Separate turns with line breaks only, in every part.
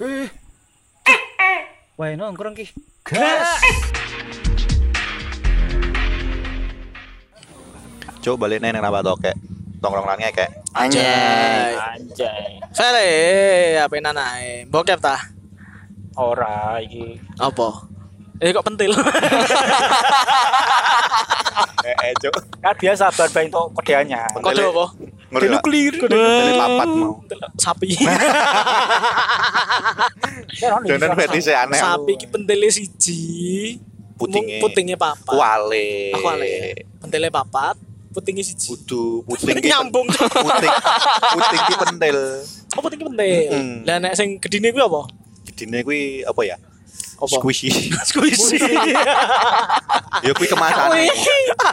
Eh,
Wah, nongkrong ki.
gas.
Cuk balik neng nang toke. Tongkrongan ngekek.
Anjay.
Anjay.
Sale, apa nanae? Bokep tah?
Ora iki.
Apa? Eh kok pentil?
Eh, eh, Cuk.
Kan dia sabar bae tok kodeannya.
Kode
ya?
apa?
Ngeri lah.
clear.
Dari lapat mau.
Sapi.
Dengan fetishnya aneh.
Sapi iki pentilnya siji.
Putinge.
mung Putingnya papat.
Wale.
Aku ale. Pentilnya papat, putingnya siji.
Kudu puting ki-
Nyambung.
Puting. Puting ki pentil.
Oh, putingnya pentil.
Mm-mm.
Lah nek sing gedine kuwi apa?
Jedine kuwi apa ya?
Apa?
Squishy.
Squishy.
Ya kuwi kemasan.
Wih.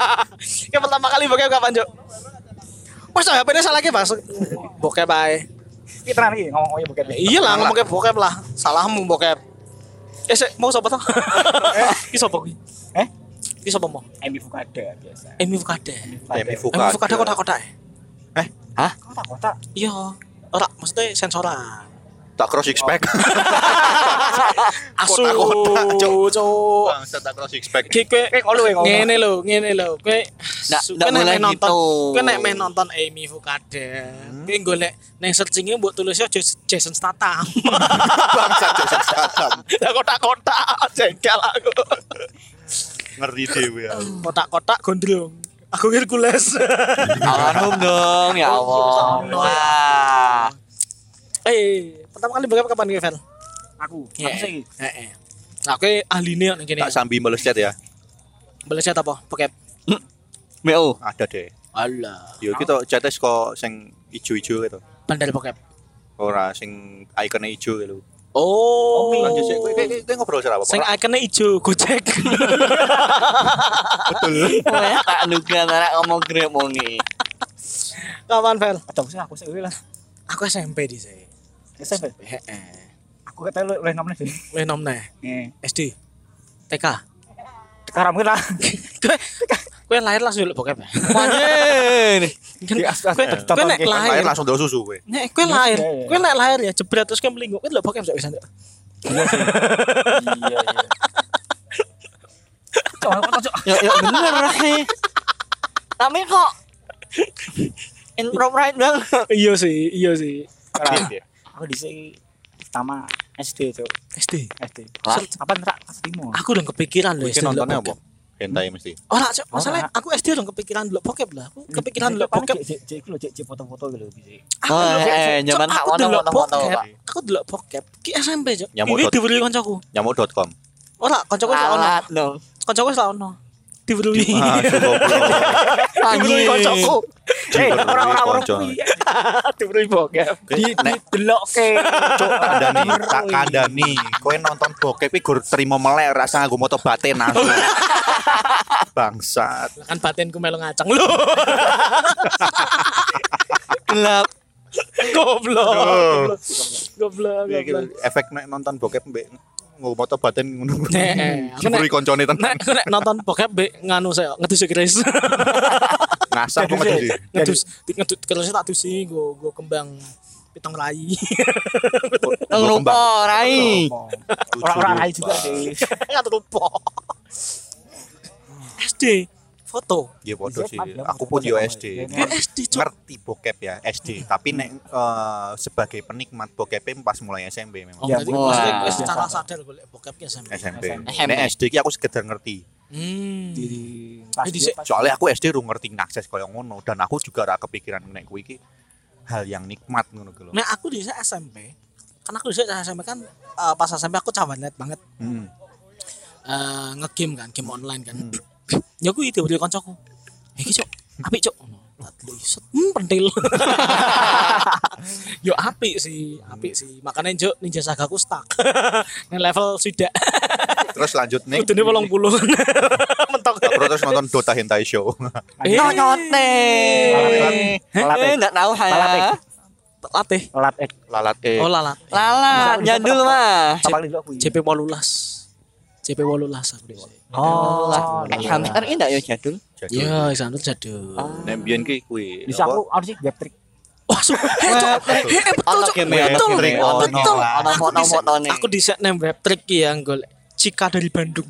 Yang pertama kali bokep kapan, Cuk? Masa HP-nya salah ki, Mas? Bokep ae.
Ki tenan iki ngomong ngomong bukan.
Ya iya lah ngomong kayak bokep lah. Salahmu bokep. Eh, sik, mau sapa toh? Ki sapa kuwi?
Eh?
Ki sapa mau?
Emi Fukada biasa.
Emi Fukade.
Demi
Emi
fuka.
Fukade kotak-kotak. ya?
Kotak-kotak.
Iya. Ora, maksudnya sensoran.
Tak cross six pack.
Oh, Asu.
Kotak-kotak, Cuk.
Cuk.
Bangsa tak cross six pack.
Ki kowe
Eh, kok lu yang ngomong?
ngene lho, ngene lho. Kowe
Ndak-
su-
ndak
kowe nek
boleh
meh nonton.
gitu. Hmm?
Kowe nek meh nonton Emi Fukade. Kowe golek nang searching-e mbok tulisnya Jas- Jason Statham.
Bangsa Cuk sesat.
Lah kotak-kotak jengkel aku.
Ngerti dhewe ya. aku.
kotak-kotak gondrong. Aku Hercules.
Almarhum dong, ya Allah. Wah.
eh, pertama kali bokep kapan Kevin?
Aku.
Iya.
Ya.
Aku sih.
Heeh. Nah, aku ahli nih nih gini.
Tak sambi meleset ya.
Belajar apa? Bokep.
Meo.
Ada deh.
Alah.
Ya kita chatnya kok sing ijo-ijo gitu.
Bandar bokep.
Ora sing ikonnya ijo gitu.
Oh.
Lanjut sih. Kowe kowe- kowe ngobrol cara apa?
Sing ikonnya ijo, Gojek.
Wah, tak duga nara ngomong grep wong iki.
kapan, Vel?
Atau sih aku sih lah.
Aku SMP di sini.
SMP.
Heeh.
Aku kata lu oleh nomor sih.
Lu nom nih.
Nih.
SD. TK.
Sekarang kita.
Kowe kowe lahir langsung dulu bokep. ya?
Anjir.
Kan-
Ya,
Kowe kowe nek
tonton,
Lahir
lahir.
langsung dol susu kowe.
Nek kowe lahir,
Iya, iya.
kowe nek lahir ya jebret terus kowe mlinguk. Kowe lho bokep sak pisan.
Iya iya. Cok, aku cok.
Ya ya bener Rai. Tapi kok inappropriate banget.
Iya sih, iya sih.
Iya.
Aku di sini pertama SD cok.
SD.
SD.
Lah.
Apa nrak kelas lima.
Aku udah kepikiran loh
Mungkin
SD dulu
nontonnya apa?
bokep.
Hentai mesti.
Ora, Cok. masalah
Ora.
aku SD udah kepikiran dulu bokep lah. Aku kepikiran dulu
Paling
bokep.
cek- cek- Cek iki lho cek cek foto-foto gitu lho bisa.
Aku
Oh,
dulu-
eh, eh,
Cok,
zaman
aku
hak wono,
dulu
wono, wono,
bokep.
Pak.
Aku dulu bokep. Ki SMP, Cok.
Nyamuk
Ini
dot.
dibeli kancaku.
Nyamuk.com.
Ora, kancaku wis ono.
Alat dong.
Kancaku wis ono. Dibeli.
Ah, cukup.
Dibeli
Anjir.
kancaku.
Eh,
Dibeli
orang-orang
konco.
kuwi. Diberi bokep.
Di
Didelokke.
Cuk kandani, tak kandani. Kowe nonton bokep iki gur trimo melek rasa nganggo moto batin langsung. Bangsat.
Lah Kan batinku melu ngacang lho.
Gelap.
Aduh.
Goblok. Goblok.
Iya,
Goblok.
iki Efek nek nonton bokep mbek nganggo moto batin ngono.
Nek, eh, aku
Diberi
nek-
koncone tenan.
Nek aku nek nonton bokep be nganu saya ngedusik Grace.
Ngasah kok ngedus. sih?
Ngedus ngedus Grace tak dusi go go kembang pitong rai.
Nang
Gua
rupa
kembang.
Rai.
Orang-orang lain juga sih.
Iya,
Enggak lupa. SD foto.
Ya bodoh sih.
Siap, Pak.
Aku pun yo SD.
Iya,
Eh, SD cok.
ngerti bokep ya SD
Hmm.
tapi nek eh, sebagai penikmat bokep pas mulai SMP memang
Oh,
Ya,
berarti
wah.
maksudnya gue secara sadar gue liat bokep ya SMP.
SMP.
SMP.
Nek SD ki aku sekedar ngerti.
Hmm.
Di pas
Eh,
di
dhisik.
Soalnya aku SD ru ngerti ngakses koyo ngono dan aku juga ora kepikiran nek kuwi iki hal yang nikmat ngono gitu loh.
Nah, aku di SMP. Karena aku di SMP kan eh, pas SMP aku cawanet banget
Hmm.
eh, ngegame kan, game online kan. ya aku itu beli kancaku. Eh, Iki cok, apik cok. Tak dulu, set, Hmm, pentil. Yo apik sih, apik sih. Makanya cok ninja saga aku stuck. Nang level sudah.
Terus lanjut nih.
Udine 80. Mentok.
Aku terus nonton Dota Hentai Show.
Eh.
Nyote.
Lalat,
Eh, enggak tahu
Lalat,
ya.
Latih.
Lalat eh
Lalat eh.
Oh, lalat.
Lalat, jadul mah.
apa lagi aku?
JP 18. JP 18 aku dhewe.
Oh,
Eh,
iya.
hamster ini enggak ya jadul?
Jadi
Ya, Isanul jadul.
nek mbiyen ki kuwi.
Bisa
apa,
aku harus sih gap trick.
Oh, Wah, su- heh, Cok. Heh, betul,
Ono
Cok.
game
ya,
Betul.
ono game.
Betul.
Ono,
Betul.
lah. Ono
Nah, Aku
foto-
dise-
fotone.
Aku di set name web trick ya golek Cika dari Bandung.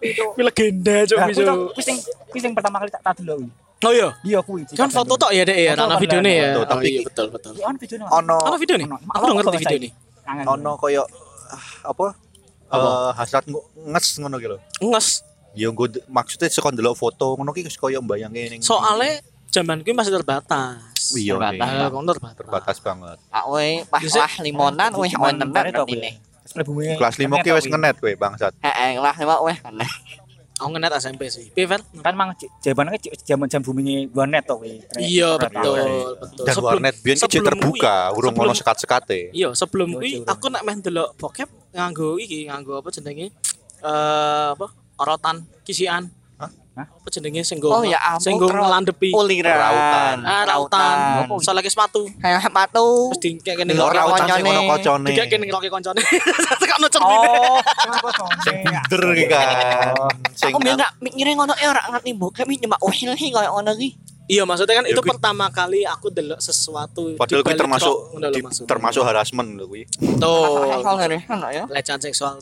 Ini legenda, Cok.
Lah,
bisa.
Nah, aku tuh wis sing- wis sing pertama kali tak tak dulu
Oh iya.
iya kuwi
Kan foto tok ya dek ya,
Foto
nana
apa
video nih ya.
Foto,
Oh
tapi-
iya betul betul.
Iya, ono video nih.
ono
Ono video nih.
Ono.
Aku udah ngerti
Foto
video
saya.
nih.
Kangen.
ono koyo ah, apa Eh, hasrat ngu- nges ngono gitu loh.
Nges.
Ya gue maksudnya sekon delok foto ngono ki koyo mbayangke ning
Soalnya zaman kuwi masih terbatas.
iya
terbatas.
Nek.
Nah, kok terbatas.
terbatas banget.
Aku ini pah
Yusuf.
lah limonan weh
Cuman
onenan
bare tok kuwi.
ini.
Terus mlebu wae.
Kelas 5 ki
Ternyata
wis
kuwi.
ngenet kowe bangsat.
Heeh, lah lima weh aneh.
Aku ngenet SMP sih. Piver?
kan mang j- jaman kan j- jaman jam booming warnet to kuwi.
Iya
Ternyata.
betul betul.
Dan
Sebelum-
warnet biyen ki
sebelum
terbuka,
kuwi-
urung ono
sebelum-
sekat-sekate.
Iya, sebelum
Bocah
kuwi
urung.
aku nak main delok bokep nganggo iki, nganggo apa jenenge? Eh apa? Orotan, kisian.
Hah?
Hah?
Apa jenenge sing go
Oh ya ampun. Oh,
sing go
kro-
ngelandepi.
Uliran.
Rautan.
Ah, rautan. Soalnya ke sepatu.
Kayak sepatu.
Terus dingkek kene
Delok
Ora
ngeroki
ucap sing
kocone.
ono kocone.
Dingkek kene ngeroki koncone. Tekan cermin.
Oh, kenapa soalnya?
Der ki kan. Sing
Aku bilang nggak mikirnya ngono eh ora ngerti mbok kami cuma wih lih oh, kayak ngono ki.
Iya, maksudnya kan
Ya,
itu
kuwi-
pertama kali aku delok sesuatu
padahal kuwi
dibalik
termasuk
rok, ngono lho
di-
maksudnya.
termasuk harassment lho kuwi.
Betul.
Kalau ngeri ngono ya.
pelecehan seksual.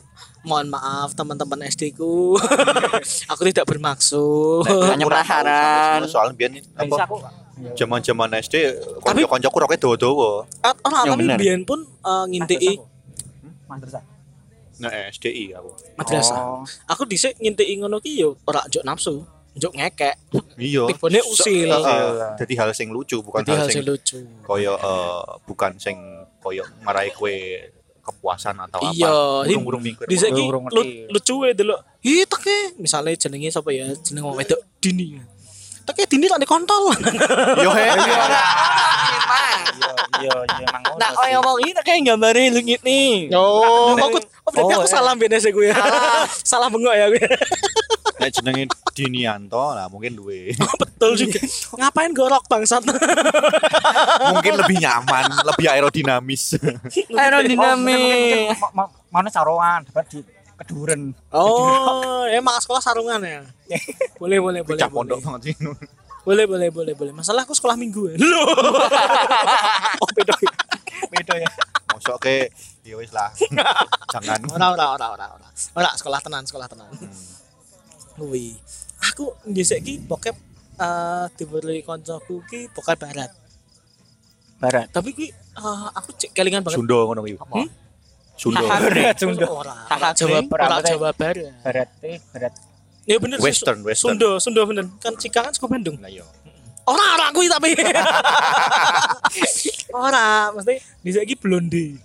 Mohon maaf teman-teman SD ku. aku tidak bermaksud.
Aku ora Nah,
Hanya
tahu
penasaran.
sama- Soalnya biyen apa
Bisa aku. Iya.
jaman-jaman SD
Tapi-
kanca-kancaku roke dawa-dawa.
Ah, Ora
Yang
tapi
bener.
biyen pun eh, ngintiki
Hmm? Madrasah.
Nah, SDI aku.
madrasah.
Oh.
Aku dhisik ngintiki ngono ki yo ora njuk nafsu, njuk ngekek.
Iya.
Tipone usil.
So-
Usil.
eh, Jadi hal sing lucu bukan
Jadi
hal
hasil
sing
lucu.
koyo eh, bukan sing koyo ngeraih kue kepuasan atau apa.
Iya,
Urung-urung mikir.
Dhisik ki
Urung ngerti.
lu- lucuwe delok. Hi teke, misale jenenge sapa ya? Jeneng wong wedok Dini. Teke Dini tak Nah, dikontol.
Yo he.
Iya, Oh, iya, iya, emang ngono
Nah, oh
sih.
yang ngomong ini kayak gambarnya lengit nih.
Oh,
Nah,
aku, oh, berarti
oh,
aku
eh.
salah benes ya gue.
Ah.
salah bengok ya gue.
Nek jenenge Dinianto lah mungkin duwe.
Betul juga. Ngapain gorok bangsat?
mungkin lebih nyaman, lebih aerodinamis.
Aerodinamik.
Mana saroan, dapat di keduren.
oh, ya mak sekolah sarungan ya. Boleh boleh boleh.
Cak
boleh.
pondok banget sih.
Boleh boleh boleh boleh. Masalah aku sekolah minggu. Loh. oh, beda.
Beda ya.
Mosok ke ya wis lah. Jangan.
Ora ora ora ora ora. Ora sekolah tenan, sekolah tenan. Kuwi. Hmm. Aku ngesek ki bokep eh dibeli koncoku ki bokep barat.
Barat.
Tapi ki eh, aku cek kelingan banget.
Sunda ngono kuwi.
Hmm?
Sunda.
Nah,
Barat, Sunda.
Ora.
Kakak
Jawa
Jawa.
Ora
Barat.
Jawa Barat.
Barat, eh, barat.
Ya bener sih,
Western, western.
Sunda, Sunda bener. Kan Cika kan suka Bandung.
Nah, yo.
Ora ora aku iki tapi. ora, mesti di saiki blonde.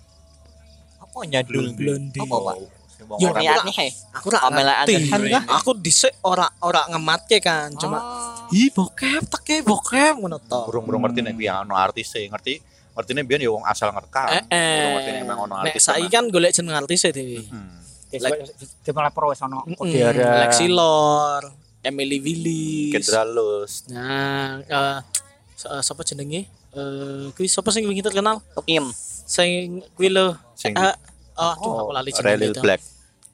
Apa nyadul?
Blonde.
Apa, Pak?
Sing wong
Yo,
ora-
Niat nih.
Aku ora
Pamela
ngerti.
Anderson kah?
Aku dhisik ora ora ngematke kan, cuma ih bokep teke bokep ngono to.
urung-urung ngerti nek kuwi ya, ono artis sih ngerti. Ngertine biyen ya wong asal ngerkam.
Eh,
Urung
eh.
ngerti nek emang ono
Nek
artis.
saiki kan golek jeneng artis e dhewe.
Hmm.
Dia malah pro sono.
Mm, Lexi Lor, Emily Willis.
General Lus.
Nah, eh eh, sapa jenenge? Eh, kuwi sapa sing wingi terkenal?
Tukim.
Sing kuwi lho.
Sing
Eh, oh, aduh, aku lali jenenge.
Relil
itu.
Black.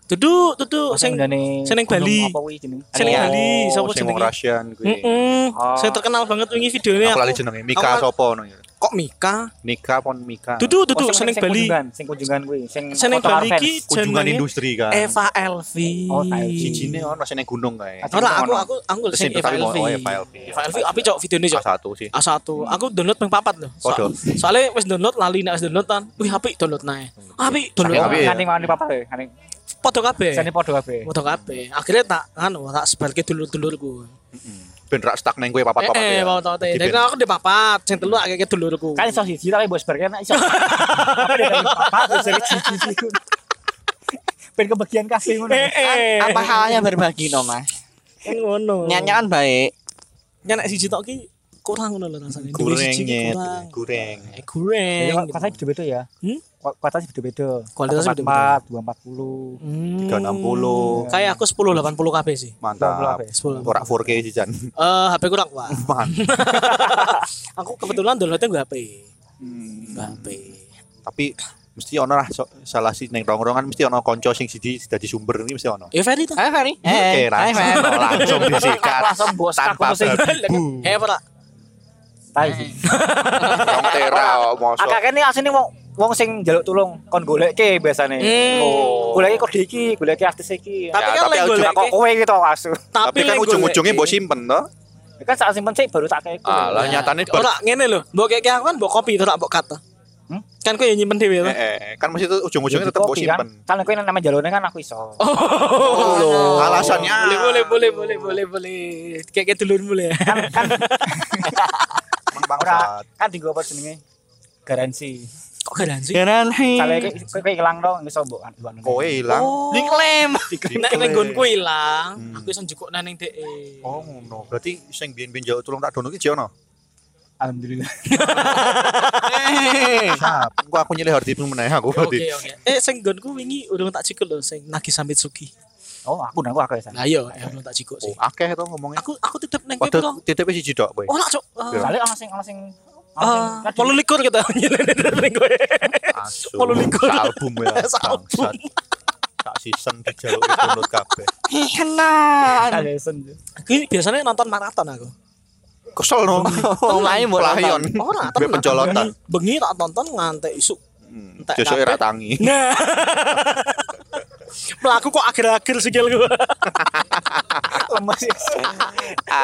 Duduk, duduk, sing
Sing dene.
sing neng Bali.
Apa kuwi jeneng?
Sing neng
Oh,
Bali, sapa
sing wong
jenenge?
Russian kuwi.
Heeh.
Oh.
Saya terkenal banget wingi videonya.
Aku lali
aku.
jenenge Mika
aku-
sapa ngono ya.
Kok Mika?
Nika pon Mika.
Duduk,
Oh,
duduk,
sing-
seneng
sing
Bali.
kunjungan, Sing kunjungan kuwi, sing
Seneng
foto
Bali
arven.
ki
kunjungan
jenenge
industri kan.
Eva Elvi.
Oh, tai.
Sijine ono sing nang gunung kae.
Asli.
Ora, aku aku aku
Terus
sing
sing
Eva
tapi mau-
Elvi.
oh, Eva Elvi.
Eva Elvi api cok videonya cok.
A1 sih.
A1.
Hmm.
Aku download ping papat lho. So-
Podo.
Soalnya wis download lali nek wis download kan. Wih, apik download nae. Apik
Saking
Saking
download.
apik.
nganti mawani papa ya, Iya. nganti.
Podo kabeh.
Sene padha kabeh.
Podo kabeh. Akhirnya tak anu tak sebarke dulur-dulurku.
Ben rak stuck nang kowe papat-papat.
Eh, eh,
ya.
mau tau teh.
Jadi
Dari
ben-
aku di papat, sing telu akeh dulurku.
Kan iso siji tapi bos berkena iso. Apa dia tadi? Papa iso siji. Ben kebagian kasih ngono.
Eh, eh.
Apa halnya berbagi no mas?
Kan ngono.
Niatnya kan baik.
Ya, nek siji tok ki kurang ngono lho rasane. Duwe
goreng
siji ki
nyet,
kurang.
goreng.
Eh, goreng.
Jadi kuotanya beda-beda ya.
Hmm?
Ku- Kuotanya beda-beda.
Kualitasnya
beda-beda. 240.
Hmm.
360.
Kayak aku 10 80 KB sih.
Mantap.
10.
Ora 4K sih Jan.
Eh, HP kurang kuat.
Mantap.
Aku kebetulan downloadnya gue HP.
Hmm.
Gue HP.
Tapi mesti ono lah so- salah sih neng rongrongan mesti ono konco sing siji dadi sumber ini mesti ono.
Ya Ferry tuh.
Ayo Ferry.
Eh,
Eh, ayo
langsung
Ferry.
langsung disikat
Langsung bos
tanpa
aku sing
babu.
Eh, apa tak?
Tai.
Wong tera oh, mosok.
Akeh ini asline wong wong sing njaluk tulung kon goleke biasane.
Hmm.
Oh. Goleke kok di iki, goleke artis iki.
Tapi
Ya,
kan
tapi
lek
aku juga
golek
Lah kok kowe iki to asu.
Tapi kan
lek
ujung-ujungnya
goleki-
mbok simpen toh.
Kan sak simpen sik baru tak kei.
Ah, lah
Ya.
nyatane bar-
ora ngene lho. Mbok kayak aku kan mbok kopi terus mbok kata.
Hmm?
Kan kowe yang nyimpen dhewe
Eh,
to.
eh, kan mesti itu ujung-ujungnya
Iya,
Ya,
tetap mbok
dikopi kan.
simpen.
Kalau kowe nama jalone kan aku iso.
Oh.
Alasannya.
Boleh boleh boleh boleh boleh boleh. Kayak kayak dulurmu lah. ya.
Kan kan
Emang
ora
bangsat.
kan dienggo apa jenenge? Garansi.
Kok gak ya? dansi?
Kalau kowe kowe ilang dong iso mbok iwan.
Kowe hilang. Gitu.
Oh.
Diklaim.
Nek nek nggonku ilang,
Hmm.
aku iso njukuk nang dhek.
Oh ngono. Berarti sing biyen-biyen jauh tulung tak dono iki jek ono.
Alhamdulillah.
Siap. Engko Ah, aku nyilih harddisk meneh aku berarti.
Eh. Ya, Oke oke. Eh sing nggonku wingi urung tak cikul lho sing Nagi Samitsuki.
Oh, aku nang aku iso.
Lah yo, eh, urung tak cikuk sih.
Oh, akeh to ngomongnya.
Aku Oh, aku tetep nang kowe
Padahal
kok.
titip wis siji tok kowe.
Ora cuk. eh,
Soale ana sing ana sing
Ah, Polo likur kita nyeleneh kowe. eh,
Asu.
Walu likur.
Sak album ya.
Sak album.
Bangsat. Sak season dijaluk download kabeh.
Kenan.
Alison.
Aku biasanya nonton maraton aku.
Kesel no.
Mulai mbok
Pelayon.
Ora,
Mbek pencolotan.
Bengi tak tonton ngantek isuk.
Hmm,
Entek
Josoke ra
kapet.
tangi.
Nah. Melaku kok akhir-akhir sikil gua.
Ah,
Lemes.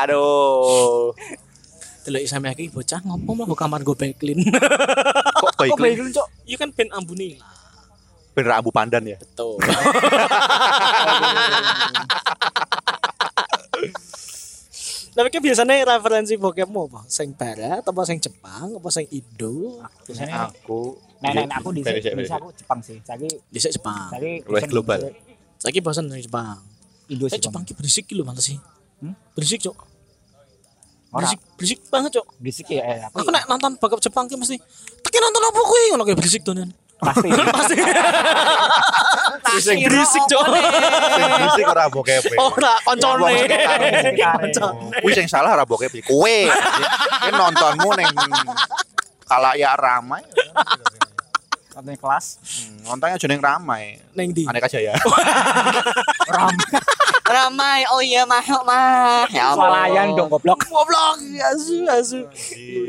Aduh.
Delok sampe iki bocah ngomong mau kamar gue backline.
Kok baik
Kok baik cok.
Iya kan ben ambune lah.
ben rambu pandan ya.
Betul. Tapi kan biasanya referensi bokepmu apa? Sing barat, apa sing Jepang, apa sing Indo?
Ah.
Biasanya
Aku
nenek Nah, aku di
Beres, beres.
Indonesia aku Jepang sih. Saiki
Dhisik Jepang.
saiki
Luwes
sing-
global.
Saiki bosan sing Jepang.
Indo
Eh Jepang ki berisik ki lho males sih.
Hmm?
Berisik, Cok.
Ora
Berisik, berisik banget, Cok.
bisik ya eh,
Aku nek nonton bokep Jepang ki mesti teki nonton apa kuwi ngono kayak berisik donan.
pasti.
Pasti. Berisik, berisik, Cok.
Sing ora bokep.
Ora koncone.
Karo-
Iya.
Kuwi sing salah ora bokep iki. kowe. Ki nontonmu ning kalayak ramai.
Katanya kelas.
Hmm, Nontonnya jeneng ramai.
Neng di.
Aneka Jaya.
Ram.
Ramai. Oh iya masuk mah. Ya ampun.
Swalayan dong goblok.
Goblok, asu asu.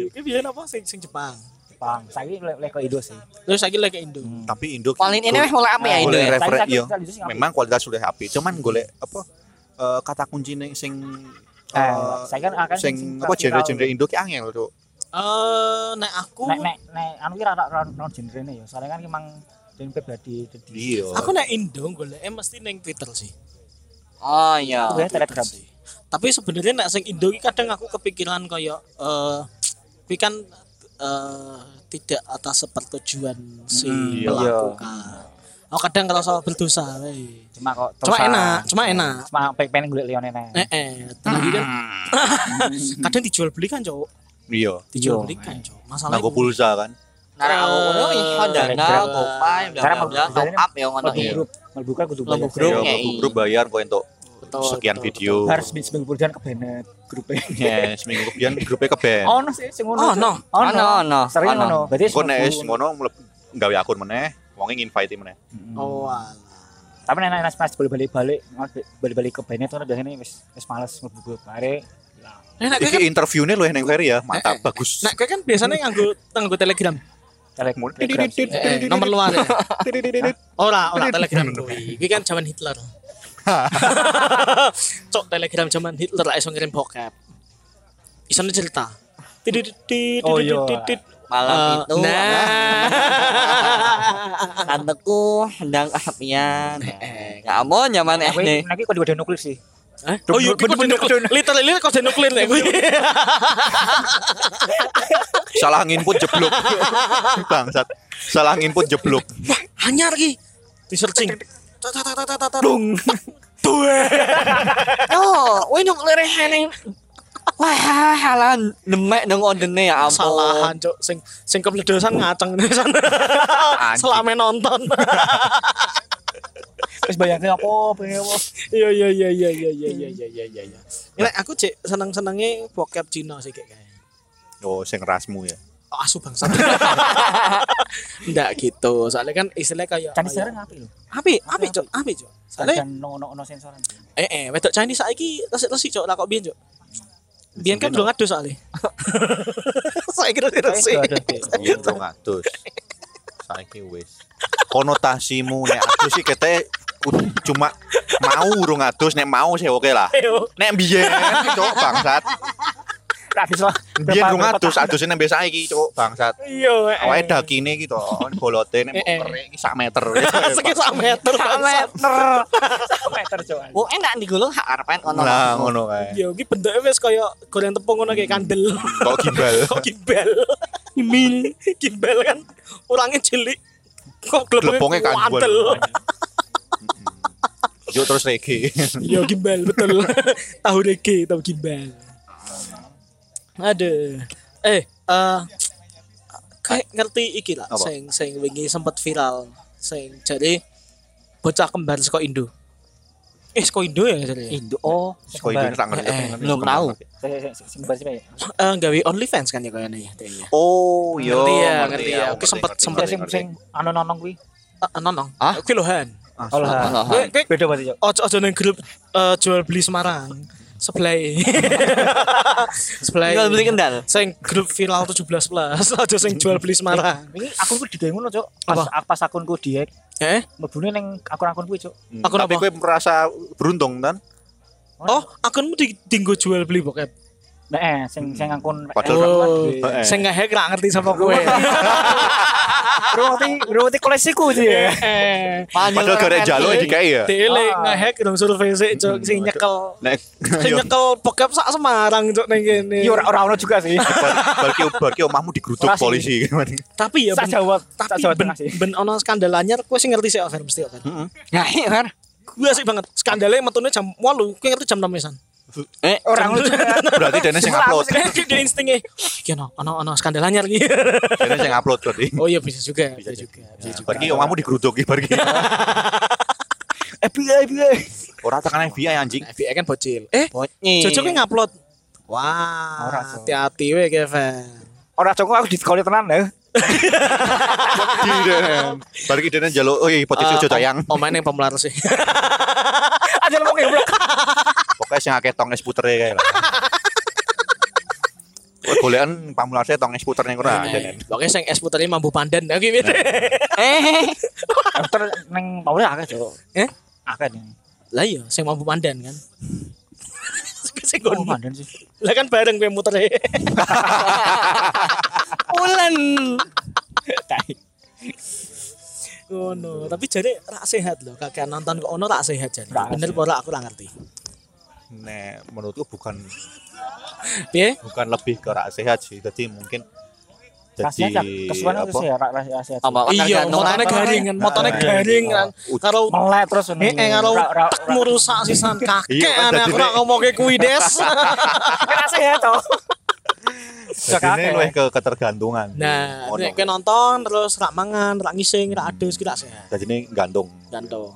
Ki biyen apa sing sing Jepang.
Jepang. Saiki le- le ke Indo sih.
Terus saiki lagi Indo.
Tapi Indo
Paling ini mah mulai apa ya Indo
Golek
ya?
referen-
Tapi- tapi
yo.
sekali itu sih ngapain?
iya. Memang kualitas sudah api, cuman golek apa eh, kata kunci ning sing
Eh,
eh,
saya kan akan
sing
sing
apa
klasik
genre-genre
tau.
Indo ki angel tuh.
Eh nek aku
Nek nek nek anu kira ora ora ora genre ya. Soalnya kan emang dan pribadi jadi
Iya.
aku nek Indo golek mesti neng Twitter sih.
Oh iya.
Aku biasanya ya, Telegram sih.
Tapi sebenarnya nek sing Indo iki kadang aku kepikiran koyo eh kuwi kan eh tidak atas persetujuan si
Hmm, iya.
pelakukan. Aku kadang ngerasa berdosa. wey.
cuma kok
Cuma
terusan.
enak, cuma enak.
Cuma pengen golek Leon enak.
Eh, eh,
Hmm.
lagi kan kadang dijual belikan cowok,
Iya.
dijual
Iya.
belikan cowok. Masalahnya
Nganggo pulsa kan.
Karena Nah, aku ngono iya, iki dana
Telegram.
gopay
Karena
bla bla top up ya ngono
Mlebu
iki.
grup, mlebu kan kudu
Iya. Mlebu
bayar.
grup.
Iya,
Grupnya,
nganggo
iya.
grup bayar kok entuk
Betul,
sekian
betul,
video.
Harus seminggu kemudian ke banned grupnya.
Ya, seminggu kemudian grupnya ke band.
Ono sih sing ngono.
Iya. Oh, no.
Oh
Ono, ono,
Sering
ono.
ngono. Berarti
Engko nek wis
seminggu.
ngono mleb- gawe akun meneh, wonge nginvite meneh.
Mm-mm.
Oh, alah.
Tapi nek nek pas balik-balik balik-balik ke banned tuh biasanya wis wis males mlebu grup. Are
Nah, nek kowe kan
Iki interviewnya lu yang Ferry ya, mantap bagus.
nek kowe kan biasanya nganggo nganggo Telegram.
Telegram.
Didididid.
Eh, nomor luar ya. Ora, ora Telegram kuwi. Kuwi kan zaman Hitler. Cok Telegram zaman Hitler lah iso ngirim bokep. Isone cerita. Tidit, tidit,
Oh, iya.
tidit.
Malam
Eh,
itu
Nah.
tanteku hendang apian. Eh, Kamu nyaman eh
Kowe
nih.
nek kode kode nuklir sih.
Hah? Oh, iya, kode nuklir. Literally kode nuklir ya, nek kuwi.
Salah nginput jeblok. Bangsat. Salah nginput jeblok.
Hanyar ki. Di searching. Dung.
Oh, wih nyok lerehane. Wah, halan demek nang ondene ya ampun.
Salahan, Cok. Sing sing kebledosan ngaceng nesan. Selame nonton.
Terus bayarnya apa? bayarnya apa?
Iya iya iya iya iya iya iya iya iya iya. iya. Nek aku cek seneng-senenge bokep Cina sih kayak kayak.
Oh, sing rasmu ya.
Oh, asu bangsa. Enggak gitu. Soalnya kan istilahnya kayak
Chinese sekarang ngapain lho?
Api, api, Cok. Api, Cok. Soalnya
Dan no no no sensoran.
eh eh wedok Chinese saiki resik-resik, Cok. Lah kok biyen, Cok? Biyen kan
Mungkin,
belum ngadu soalnya. Saya kira-kira sih.
Eh,
Biyen rong atus. Saiki wis. Konotasimu nek aku sih kete ku- cuma mau rong atus nek mau sih oke lah. Nek biyen cok bangsat.
Habis lah.
Biyen rong atus adusnya nembe saiki cok bangsat.
Iya.
Awake dakine iki to, bolote nek
Eh, eh.
kerik iki sak meter.
Sekit sak meter. bangsat.
meter coba.
Oh enak digulung hak arepan kono.
Nah, ngono kae.
Ya, iki bentuknya wis kaya goreng tepung ngono kayak kandel.
Kok gimbal.
Kok gimbal. Mil gimbal kan orangnya cilik. Kok
Glepongnya
glepongnya
kandel.
wadel.
Yo terus regi.
Iya gimbal betul. tahu rege, tahu gimbal. Aduh. Eh, eh kayak ngerti iki lah
Apa?
sing sing wingi sempat viral. Sing jadi bocah kembar saka Indo. Eh, saka Indo ya jadi.
Indo oh.
Kok ibu tak ngerti.
Eh,
belum tahu.
Simbar sih ya.
Eh, gawe OnlyFans kan ya kayaknya ya. kayaknya.
Oh, yo.
Ngerti ya, ngerti ya. Oke, sempet- sempet.
Sing sing anu nonong kuwi.
Eh, nonong.
Hah?
Kuwi lho, Han.
Ah,
Oh lah.
Alahan.
Kuwi- kuwi
Beda berarti cok.
ojo ojo nang grup eh, jual beli Semarang sebelah sebelah
Tinggal beli kendal.
sing grup viral 17 plus ojo sing jual beli Semarang
Ini akunku digawe ngono cok. Pas pas akunku dihack,
eh
mlebune ning akun-akun kuwi cok.
Aku
Tapi
napa?
kowe merasa beruntung kan?
oh akunmu di dinggo jual beli bokep
Nah, eh, sing sing akun
Padahal kan-
oh
Heeh.
sing ngehack ra ngerti sama kowe
Ruwati, ruwati koleksiku sih ya.
eh
Padahal gara jaluk dikai ya.
dele
Ah.
ngehack dong survei sik cok sing nyekel
Nek
sing nyekel bokep sak Semarang cok ning kene
Iya, ora ora ono juga sih.
Bagi bagi omahmu digerutuk
Ora sih.
polisi gimana?
tapi ya ben,
Sak Jawa, sak
tapi
Jawa
ben,
Tengah sih.
ben ono skandal anyar kowe sing ngerti sik Over mesti Ya, Over
Nah, iya, Fer.
gue sih banget skandalnya metune jam 8 gue ngerti jam 6 mesan
Eh,
Ora ono juga.
Berarti dene sing upload,
dia instingnya iki ono ono ono skandal anyar iki
dene sing upload berarti.
oh iya bisa juga bisa,
jadi.
juga bisa juga
Bagi omahmu digerutuk iki bagi.
eh,
FBI, FBI.
Ora tekan FBI anjing.
nah, FBA kan bocil eh
bocil.
Jojo gue ngupload wah
Ora, Cok.
hati-hati we Kevin
Ora cok aku diskoli tenan eh. lho.
Bagi dene jaluk oi potensi
Ah,
ojo tayang.
omain yang pemularas sih
Aja lu ngomong goblok.
Pokoke sing akeh tong es putere kae lah. Kowe golekan pamulasnya tong es puter ning ora dene.
pokoknya sing es puternya mambu pandan oke gitu
Eh,
Dokter ning Paulus akeh cok.
Eh?
Akeh ning.
lah iya sing mambu pandan kan sing
Oh,
gon
mandan sih.
lah kan bareng gue muter
ulen.
Tai.
ngono tapi jadi rak sehat loh kakek nonton kok ono rak sehat jadi
Rak
bener
sehat.
ora aku ora ngerti
Nek menurutku bukan
piye
bukan lebih ke rak sehat sih. Jadi mungkin
Kasihan kan kesuwen sih ya, ra- ra- sehat.
Apa?
iya
tergantung
motornya
apa.
garing kan motornya
Nah,
garing kan
Ut-
karo
Melek terus ngono.
eh eh karo
Ra- ra- ra-
ngurusak sisan kakek
Iya, kan,
aneh
jadi
aku nak
nek-
ngomong ke kui des
Kena sehat toh. Sudah
Jadi ini
kakek.
lebih ke ketergantungan.
nah
Ngono.
nek kowe nonton terus rak mangan rak ngising rak adus kira sehat
Jadi ini gantung.
gantung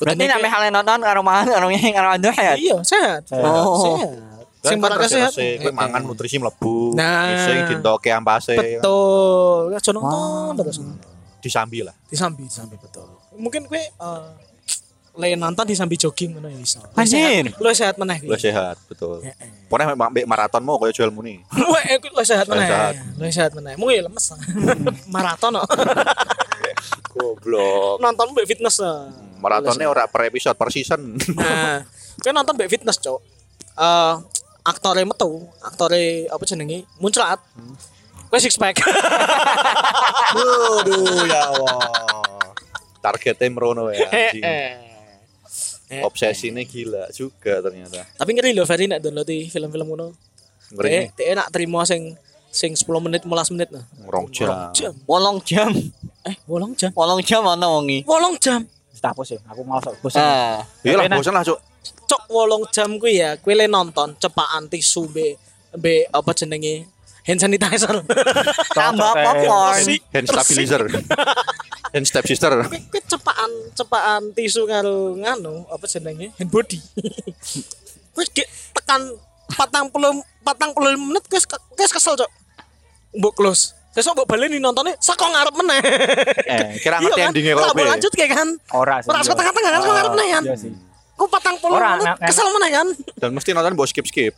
Berarti namanya hal yang nonton karo mangan karo ngene karo ando ya.
iya sehat
Sehat.
Oh.
sehat sing
Kan
barang sehat Eh,
Kowe mangan nutrisi mlebu.
Nah.
Sing dintoke ampase
betul aja nonton terus
disambi lah.
disambi disambi betul mungkin kowe eh, lain nonton disambi jogging ngono ya iso Lu
Anjir.
sehat- lu sehat meneh
Lu
kuwi
sehat, betul.
Heeh.
Pokoknya memang mbek maraton mau koyo jual muni.
Wah, aku lo sehat mana?
Sehat.
Lo sehat mana? Mau ya lemes. Maraton oh.
Goblok.
nonton mbak fitness. oh.
Maratonnya ora per episode per season.
Nah, kan nonton mbak fitness, Cok. Eh, aktore metu, aktore apa jenenge? Muncrat.
Hmm.
Kowe six pack.
Aduh ya Allah. Targetnya merono
Eh,
ya. anjing. Obsesinya gila juga ternyata.
Tapi ngeri lho Ferry nek download di film-film ngono.
Ngeri
Teh teh nak terima sing sing 10 menit, 15 menit nah.
ngerong jam.
Jam.
Wolong jam,
Eh, bolong jam.
wolong jam ana wengi.
Wolong jam.
Sudah hapus ya. Aku malas aku bosan.
Eh,
Ah.
Iya lah
Enak.
bosan lah, Cuk.
Cok wolong jam kuwi ya, kuwi le nonton cepaan tisu be be apa jenenge? Hand sanitizer.
Tambah
Cocok, eh.
popcorn.
Bersih.
Hand stabilizer. Hand step sister.
Kuwi kuwi cepaan cepaan tisu karo nganu apa jenenge hand body kuwi gek tekan patang puluh patang puluh menit kuwi ke- kuwi kesel cok mbok close sesuk mbok baleni nontonnya saka ngarep meneh
Eh,
Kira
Iya
ngerti ya? endingnya
kok
kok
mbok
piye?
kan? lanjut kayak kan
ora sih.
Ora,
iya.
suka tengah-tengah, kan, suka
Oh,
ngarep nih, kan?
Iya sih.
ku patang puluh
Ora,
menit
nang- nang-
kesel meneh kan
Dan mesti nonton bos skip skip.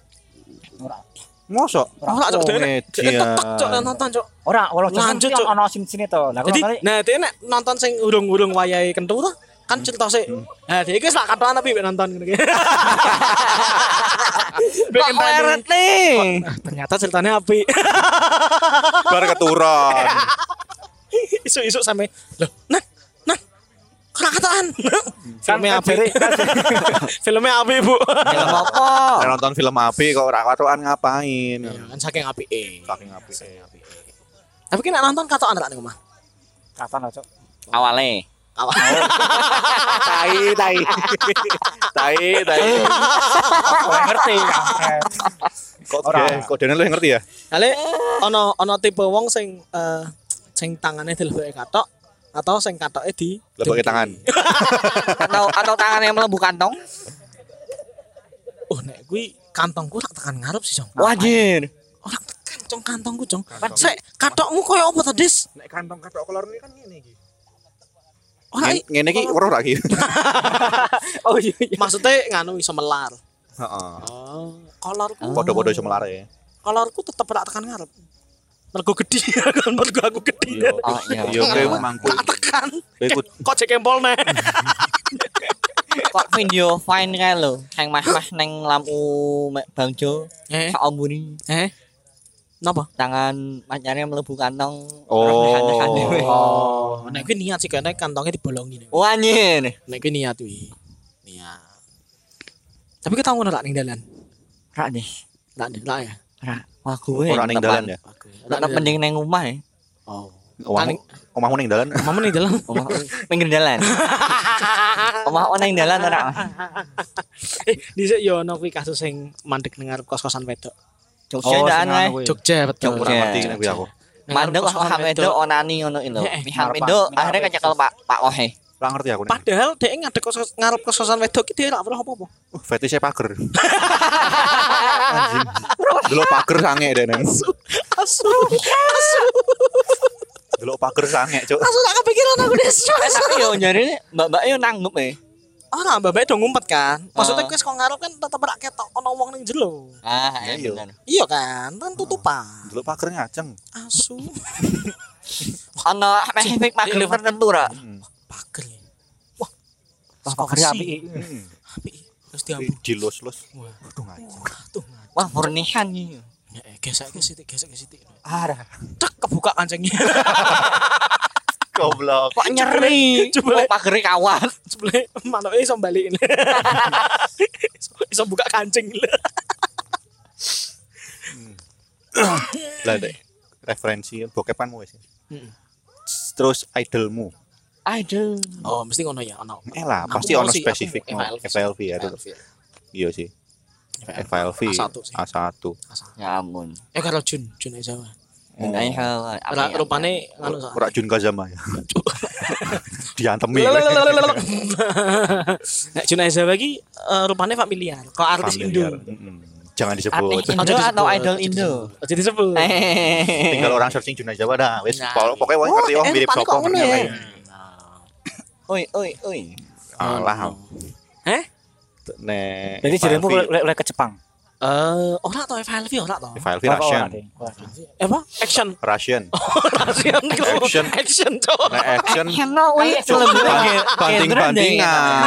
Ora.
Mosok. Oh,
Ora cok dhewe nek- dhewe
Komedian.
tetep cok nek nonton cok.
Ora, ora jangan
Lanjut,
kan
Cuk.
ono sim-sime to. Lah
Jadi
kok
nah dhewe nek nonton sing urung-urung wayahe kentu to kan cerita sih. Nah dhewe iki wis lak katokan tapi mek nonton ngene iki. Mek
Kok
ngenteni.
leret nih?
nah, Ternyata ceritanya api.
Bar keturun.
Isu-isu sampe loh nah nah ora katokan.
kan
Filmnya api.
jere- kan jere-
Filmnya api, Bu.
Film apa? Iya.
Nek nonton film api kok ora katokan ngapain.
Kan saking apike.
Saking api.
Tapi ki nek nonton katokan rak ning omah.
Kapan lo, Cuk?
Awalnya.
Awal.
Tai tai. Tai tai.
Ora ngerti
Oh,
ya.
Kok
Ora.
ora kok dene lu yang ngerti ya?
Kali ono ono tipe wong sing eh, sing tangane dilebokake katok atau sing katoke di
Lebok
dengki.
tangan.
Atau atau tangan yang melebu kantong?
Oh nek kuwi kantongku rak tekan ngarep sih, Jong.
Wajir.
Ora tekan Jong kantongku, Jong. Sik, katokmu koyo apa to, Dis?
Nek kantong katok kolor ini kan ngene iki.
Ora i-
Ngene iki ora ora iki.
Oh iya.
maksudnya nganu iso melar.
Heeh.
Oh, kolorku.
Podo-podo iso
Iya.
melare.
Kolorku tetep rak tekan ngarep. Mergo gedhi, kan mergo aku gedhi.
Oh, iya.
Yo kowe mangku.
Tak tekan.
Kowe ikut
Kok jek kempol nek.
Kok video fine kae lho. Hang mas-mas neng lampu Mek Bang Jo.
Eh,
Sak ombuni.
eh. Napa?
Tangan pacarnya melebu kantong.
Oh.
Oh, nek kuwi niat sih karena kantongnya dibolongi. nek.
Oh,
Wajir.
Oh, Nek kuwi niat kuwi. Niat. Tapi kita ngono rak ning dalan.
Rak deh.
Rak ning rak ya.
Rak. Wah gue.
ora ning dalan ya.
Aku.
Tetep mending neng rumah ya.
Oh.
Iya.
Omahmu omahmu ning dalan.
Mama ning dalan.
Omah pinggir jalan. Omah oneng jalan ora.
Eh, dhisik yo ono kuwi kasus sing mandek ning ngarep kos-kosan wedok.
Oh,
eh.
Jogja jalan ae.
Jogja betul.
Ora
Jogja.
ngerti nek kuwi aku.
Mandek kok
Kos-kosan
hak wedok onani ngono iki lho.
Eh, eh,
Mihan
ngarepan.
wedok akhirnya kecekel Pak Pak Ohe.
Ora ngerti aku nek.
Padahal dhek ngadek kos ngarep kos-kosan wedok ki dhek rak weruh apa-apa.
Uh, fetishnya pager. Anjing. Delok pager sange dene.
Asu. Asu. Asu.
Delok pager sange, Cuk.
Asu tak kepikiran aku Des.
Eh, Tapi yo nyari mbak-mbak yo nanggup e.
Ora, mbak do ngumpet kan. Maksudnya
Ah.
kuwi kok ngarep kan tetep rak ketok ono wong ning jero.
Ah,
Ya,
iya
iya.
bener.
Iya kan, kan tutupan.
Delok pager ngaceng.
Asu.
Ono spesifik magrib tertentu ra.
Hmm.
Pager. ya.
Wah,
Kok
kerja
sih?
api.
Hmm.
Api. Terus diambil.
Dilus-lus.
Wah.
Waduh ngaceng.
Tuh.
Wah, furnihan iki.
Ya, eh, gesek ke sitik, gesek ke sitik.
Arah.
Tek kebuka kancingnya.
Goblok.
Kok nyeri?
Jebule.
Coba pagere kawat.
sebelah manuke iso balikin. iso, iso buka kancing.
Lah dek. Referensi bokep kan wis.
Mm.
Terus idolmu.
Aduh.
Oh, mesti ngono ya, ono.
Elah,
Aku
pasti ono
mau sih, aku
spesifik
mau
no.
FLV.
FLV ya. Cuk. Iya sih. FLV.
A1 sih.
A1.
Ya ampun.
Eh karo Jun, Jun ae Jawa.
Ini hal.
Ora rupane ngono so.
Ora Jun Kazama ya. Diantemi.
Lelelelelelelelel. Nek Jun ae Jawa iki eh, rupane familiar. Kok artis
Familiar.
Indo.
Mm-mm. Jangan
Artis
disebut.
Indo
disebut,
atau idol
aja
Indo?
Aja disebut.
Eh.
Tinggal orang searching Juna Jawa dah. Wis
Nah,
pol- pokoknya wong
Oh,
ngerti wong
eh,
mirip
panik
sapa
kok ngono ya.
menyampaikan.
Oi, oi, oi.
Alah.
Eh?
Nek.
Jadi jeremu
FLV.
oleh oleh ke Jepang.
Eh, ora to FLV ora to.
FLV
Wah, kok
Russian.
ora, Ding? Wah,
Apa? Action.
Russian.
Action.
Action.
Action. cok.
Nek action
Hello, oi.
banting-bantingan.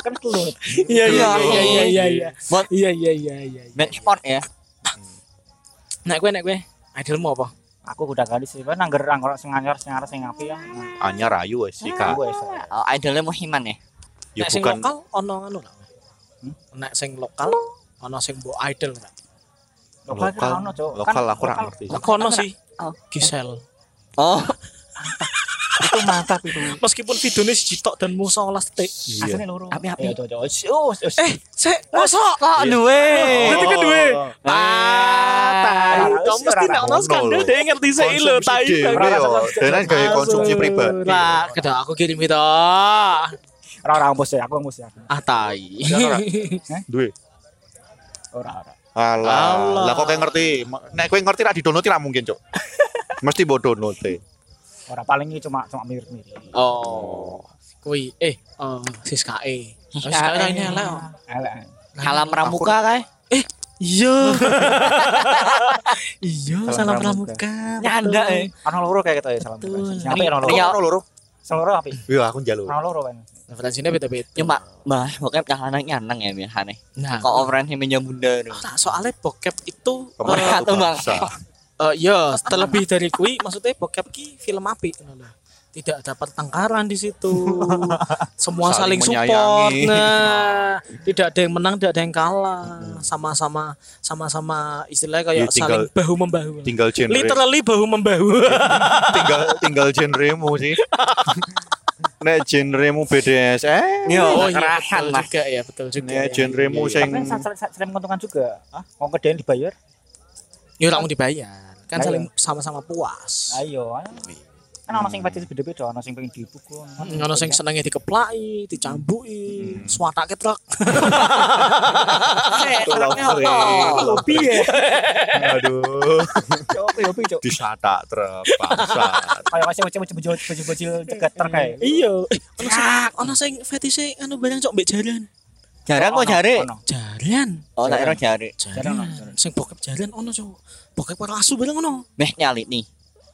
Kan kelut.
Iya iya iya iya iya iya.
Buat-
Iya iya iya iya. iya.
Benchmark ya.
Nek gue nek gue idolmu apa?
Aku udah gadis sih. Nang gerang kalau sing anyar sing arep sing api ya.
Anya rayu eh, wis Ika.
Gue sih.
Oh, idolnya Muhiman ya.
Ya
nek sing
bukan
lokal ono anu lah.
Hmm?
Nek sing lokal ono sing mbok idol lah.
Lokal kan ono, Cuk.
lokal
Kan
aku ora ngerti.
Aku ono sih.
Oh.
Gisel.
Oh,
Itu mantap itu.
Meskipun videonya siji tok dan musa olas tek.
Iya.
Asline loro.
Api-api.
Ya, Cuk, Cuk. Wis, wis, wis.
Eh, sik, Iya. musa.
kok duwe.
Eh,
Berarti
oh,
kan duwe. Ah, tai.
Ora,
Kau
wis,
mesti
ora,
nek ono
ngono
skandal
lho.
dhewe ngerti sik lho, tai.
Konsumsi dhewe
tai.
yo. Dene gaya ya, konsumsi
Asu,
pribadi.
Lah, kedah aku kirim itu.
Ora ora ambus ya, aku ambus ya. Eh,
Ah, tai.
Duwe.
Ora ora.
Alah.
Alah.
Lah kok kayak ngerti? Ma- Nek kowe ngerti ra didownload ra mungkin, Cuk. Mesti mbok download e.
Ora paling iki cuma cuma mirip-mirip.
Oh. Kui, eh, eh, sis KE. Sis
KE.
KE ini elek.
Elek. eh.
Kalam Pramuka kae.
Eh, Iya. Iya, salam pramuka.
Nyanda eh.
Ono loro kayak ketoke salam.
Betul.
Sampai ono ya, loro.
Iya.
Ono loro.
Salam loro apa?
Iya, aku njaluk.
Ono loro kan.
Referensinya Nah, beda-beda.
Ya mak, mah pokoknya kahanan nyanang ya mi hane.
Nah,
Kok overan hime nyamunda no.
nah, soalnya bokep itu eh,
Pemersatu
Tuh, Bang.
bangsa.
Eh ya, terlebih dari kui maksudnya bokep ki film apik ngono lho. Tidak ada pertengkaran di situ. Semua saling,
Saling
support.
menyayangi.
Nah, tidak ada yang menang, tidak ada yang kalah. Sama-sama sama-sama istilahnya kayak
Ya, tinggal-
saling bahu membahu.
Tinggal genre.
Literally bahu membahu.
Tinggal tinggal genremu sih. Nek genremu BDSM.
Iya,
Oh, betul
kerahan lah.
juga ya, betul juga.
Nek genremu
Iya, iya.
sing
Tapi sa- sa- sa- sering menguntungkan juga. Hah? Mau kedain dibayar?
Ya ora mau dibayar. Kan
Ayo.
saling sama-sama puas.
Ayo. ayo. Kan ono sing fetish beda-beda, ono sing pengen dipukul.
Ngono sing senenge dikeplaki, dicambuki, swatake truk.
Eh,
lover ya.
Oh, piye?
Aduh,
Cok, yo piye, Cok?
disata terpaksa.
Kayak masih bocil-bocil bocil-bocil cegat terkait.
Iya. Ono sing ono sing fetishe anu barang cok mbek jaran.
Jarang kok jare.
Jaran.
Oh, nak ero jare.
Jaran,
Jaran.
jaran.
Sing bokep jaran ono cok. Bokep karo asu barang ono.
Meh nyali nih.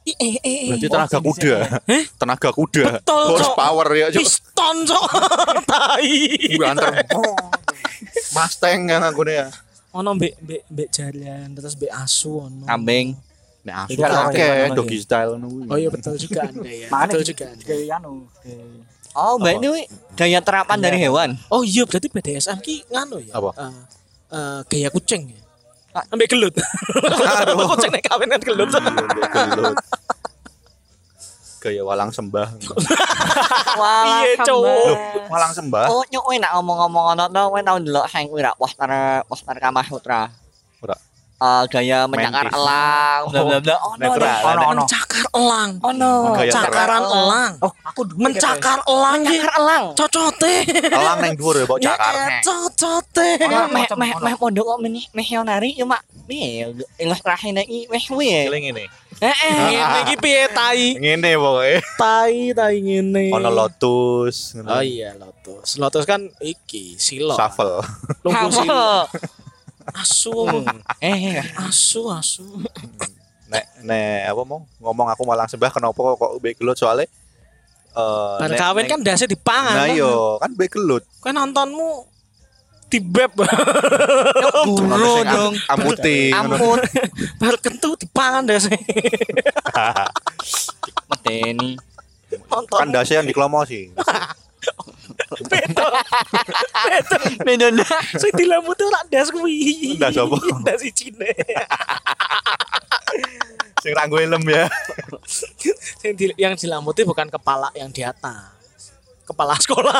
I eh eh eh.
Berarti tenaga kuda.
Eh?
Tenaga kuda.
Betul, Cok.
power ya, Cuk.
Piston cok. Tai.
Banter. Mustang kan aku nih ya.
Ono mbek mbek mbek jaran terus mbek asu ono.
Kambing.
Nek asu
Iya,
kakek
iya.
doggy style nunggu.
Oh iya betul juga Anda ya.
Mana
Betul
juga
juga Anda.
kayak anu. kayak-
Oh, mbak ini weh, daya terapan dari hewan.
Oh iya berarti BDSM ki ngano ya?
Apa?
Eh, eh, gaya kucing ya. Ambek gelut. kucing nek kawin kan gelut.
Gelut. Gaya walang sembah.
Iya, Cok.
Walang sembah.
Oh, nyok kowe nak ngomong-ngomong ono to, kowe tau ndelok hang kowe rak Wastara Wastara Kamasutra.
Ora.
Eh gaya menyakar
Mantis.
elang, bla bla Oh, bla. Ono
Netral.
ono, ono.
Mencakar elang.
Ono.
Gaya
Cakaran
terang.
elang.
Oh, aku dulu
iya, Mencakar elang ki.
Menyakar elang.
Cocote.
Elang neng dhuwur ya, bok cakar.
Ya, Cocote.
Oh,
Ono
Ono,
Oh, meh
macam
meh
ono.
meh pondok kok meneh meh yo nari yo mak. Meh enggak rahe nek iki meh kuwi. ya.
Keling ini.
Heeh.
Ngene ki piye tai?
Ngene pokoknya.
Tai tai ngene.
Ono Oh, lotus. ngono.
Oh iya lotus. Lotus kan iki silo.
Shuffle.
Lungguh silo.
Apa?
Asu.
Hmm.
Eh,
Asu asu.
Nek nek apa mau ngomong aku walang sembah kenapa kok kok mbek gelut soalnya eh,
Bar
nek-
kawin
neng-
kan dasi dipangan.
Nah
kan?
yo kan mbek gelut.
Kan nontonmu di beb
Ono
guru
sing am-
dong.
Amuti. ngono.
Ampun,
baru kentu di pangan deh sih.
medeni.
Nonton
Kan dasi yang diklomosi.
Medeni.
sing dilamute ora ndas kuwi.
Ndas apa?
Ndas icine.
Sing ra nggo helm ya.
Sing di, yang dilamuti bukan kepala yang di atas. Kepala sekolah.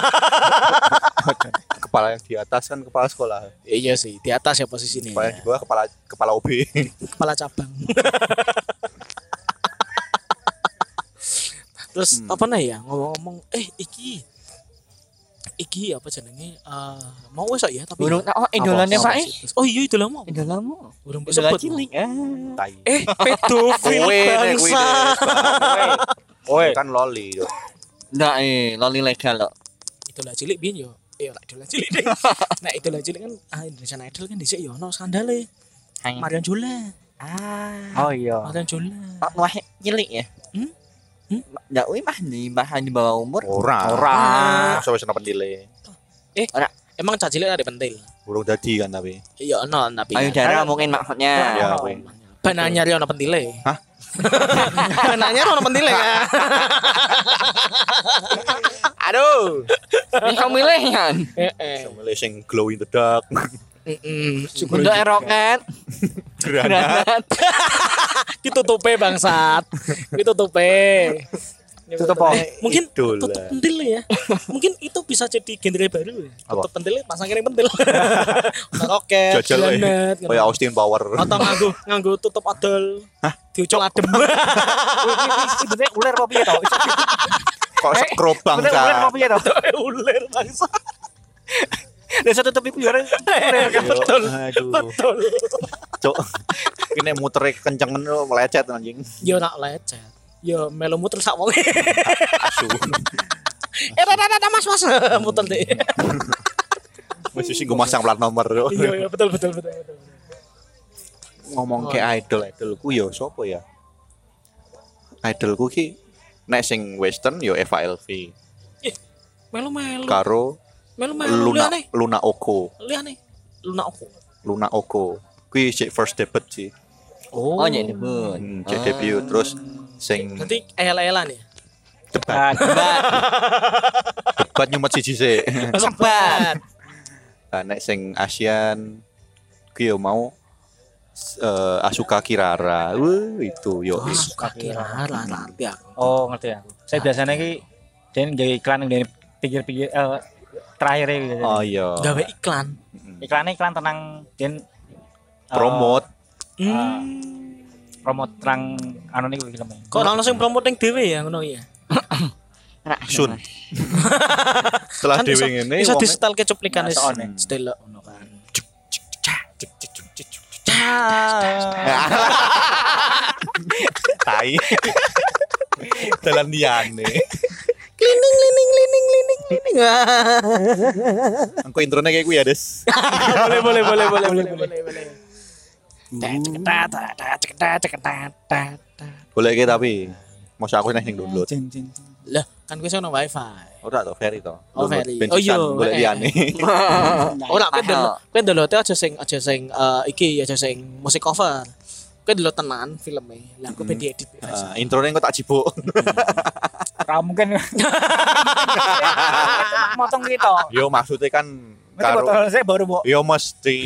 Kepala yang di atas kan kepala sekolah.
iya sih, di atas ya posisinya.
Kepala yang di bawah kepala kepala OB.
Kepala cabang. Terus
Hmm.
apa nih ya ngomong-ngomong eh iki iki apa jenenge eh mau esok ya tapi
Burung oh idolane Pak. eh.
Oh iya itu lama.
Idolamu.
Burung pesebut.
Idola cilik. Eh.
Tai.
Eh, pedofil
Kowe nek kuwi,
bangsa.
Des. Kowe. Kowe kan loli. yo.
Nggak eh, loli legal loh.
Idola cilik biyen yo. Eh, ora idola cilik deh. Nah, idola cilik kan ah, Indonesian Idol kan dhisik yo ono skandale.
Hang.
Marion Jola.
Ah,
Oh iya.
Marion Jola.
mak wah cilik ya.
Hmm? Hmm?
Nggak wih mah di mah di bawah umur.
Ora.
Ora.
Masa wis ana pendile.
Emang cah cilik ada pentil.
Burung dadi kan tapi.
Iya ono tapi.
Ayo darah mungkin maksudnya.
Ya kowe.
Ben anyar yo ono pentile.
Hah?
ben anyar ono pentile ya.
Aduh. Bisa milih kan.
Heeh.
Milih sing glow in the dark.
Heeh.
Untuk eroket,
Granat.
granat.
Ditutupe bangsat. Ditutupe.
Tutup apa?
Mungkin
Idola.
tutup pentil ya. Mungkin itu bisa jadi genre baru ya.
Apa?
Tutup pentil pasang kering pentil. Nah, Roket,
Jajal Oh, ya, we.
jalanet.
Kayak Austin Power.
Atau nganggo nganggo tutup odol. Hah? Diucul adem.
Ibunya ular ya apa piye tau?
Kok sekrup
Ibunya ular ya apa
bangsa.
piye tau?
Ulir bangsa.
Desa tutup iku ya.
Betul.
Aduh.
Betul.
Cok. Ini muter kenceng ngono, melecet anjing.
Yo nak lecet. Yo melu muter sak wong.
Asu.
Eh, ada ada Mas Mas muter deh.
Wis sing gue masang plat nomor.
Iya, iya betul betul betul betul. betul. Oh.
ngomong ke idol idolku yo sopo ya idolku ki nek sing western yo Eva Elvi
melu melu
karo
melu melu
Luna
liane
Luna Oko
liane Luna aku
Luna Oko kuwi sik first debut sih
Oh, nyek debut.
hmm,
Ah.
sik debut terus sing
nanti ya. ayala ayala nih
Nah,
debat
Debat,
debat nyumet siji sik
debat.
Nah, nek sing ASEAN kuwi yo mau s- eh, Asuka Kirara Wuh, itu yo
wah suka kira lah nanti aku
Oh ngerti aku. Saya biasanya ki dan jadi iklan yang dari pinggir-pinggir eh, terakhir gitu.
oh iya
gawe iklan
Iklannya iklan tenang eh, dan
promote
Ah. hmm.
promote terang anu nih filmnya.
kok orang langsung promoting dewe ya ngono ya
Sun. Setelah
bisa,
dewe ngene
bisa
wongnya-
di setel ke Iya, cuplikan
Nah, soalnya.
setel ngono kan
Tai. Dalan liane.
klining klining klining klining klining
Engko intronya kayak gue ya, Des.
boleh boleh boleh boleh boleh boleh.
Boleh ke tapi. Mau aku neng sing download.
lah kan gue sono wifi
Ora to Ferry to.
Oh, Ferry.
Ben
Oh, iya.
sisan Golek
Eh.
liane.
Ora kowe
Mahal.
delok kowe ndelok aja sing aja sing eh, iki aja sing musik cover. Kowe ndelok tenan filme. Lah aku ben diedit
Ah,
biasa.
Intronya engko tak
Oh.
jibuk.
Ra mungkin. Motong gitu.
Yo maksudnya kan
Nanti
karo
botol saya baru bu.
Yo mesti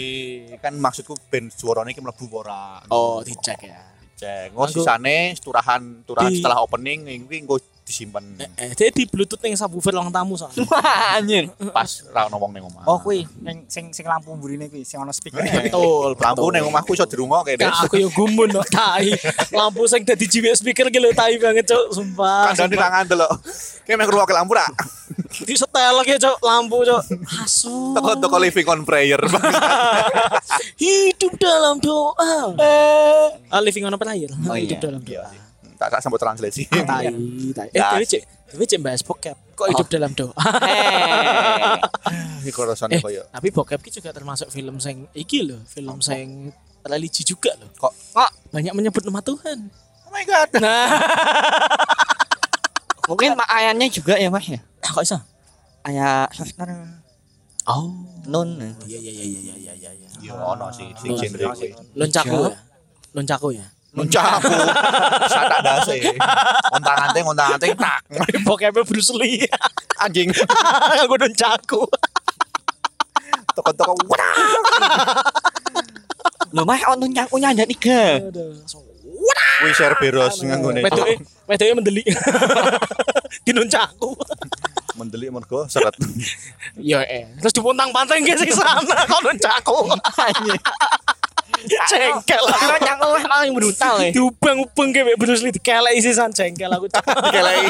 kan maksudku ben suarane iki mlebu ora.
Oh, dicek ya.
Cek. Engko sisane turahan turahan
Di-
setelah opening iki engko disimpen
Eh, eh dia di bluetooth ning subwoofer ruang tamu soalnya.
Wah,
eh.
anjir.
pas ra ono wong ning omah.
Oh kui, yang sing sing lampu burine kui, sing ono speaker.
Iya,
Betul,
Lampu neng omahku iso dirungokke,
Kak,
Des.
aku yo gumun loh, tai. Lampu sing dadi jiwek speaker ki lho tai banget, Cuk. Sumpah.
Kandang di tangan tuh lo. Kayak main keluar ke lampu rak.
Di setel lagi, Cuk, lampu, Cuk. Asu.
Toko toko living on prayer.
Hidup dalam doa. Ah, living on a prayer.
Oh, iya.
Hidup dalam doa.
Tak tak sambut translate sih.
Tai, tai. Eh,
Tai.
dewe cek, dewe cek bahas bokep. Kok hidup dalam doa?
Eh,
Iki korosone
Eh,
koyo.
tapi bokep ki juga termasuk film sing iki loh, film sing religi juga loh.
Kok
Banyak menyebut nama Tuhan.
Oh my god.
Nah.
mungkin mak ayahnya juga ya mas ya.
Ah, kok iso?
Ayah Sosner,
Oh,
Nun.
iya iya iya iya iya iya iya.
Yo ono sih sing genre kuwi.
Loncaku ya. Loncaku ya.
Nuncaku. Satak dase. Ontang-anting ontang-anting tak.
Bokepnya Bruce Lee.
Anjing.
Aku loncaku.
Toko-toko wah.
Loh mas, oh nun nyaku nyanda tiga.
Kuwi Cerberus nganggone.
Wedoke, wedoke mendelik. Di loncaku.
Mendelik mergo seret.
Ya eh, terus dipuntang-pantang ke sing sana kok loncaku. Iya. Jengkel.
Karena nyaku mas paling brutal ya.
Diubang-ubang ke Bruce Lee dikelek isisan jengkel aku.
Dikelei.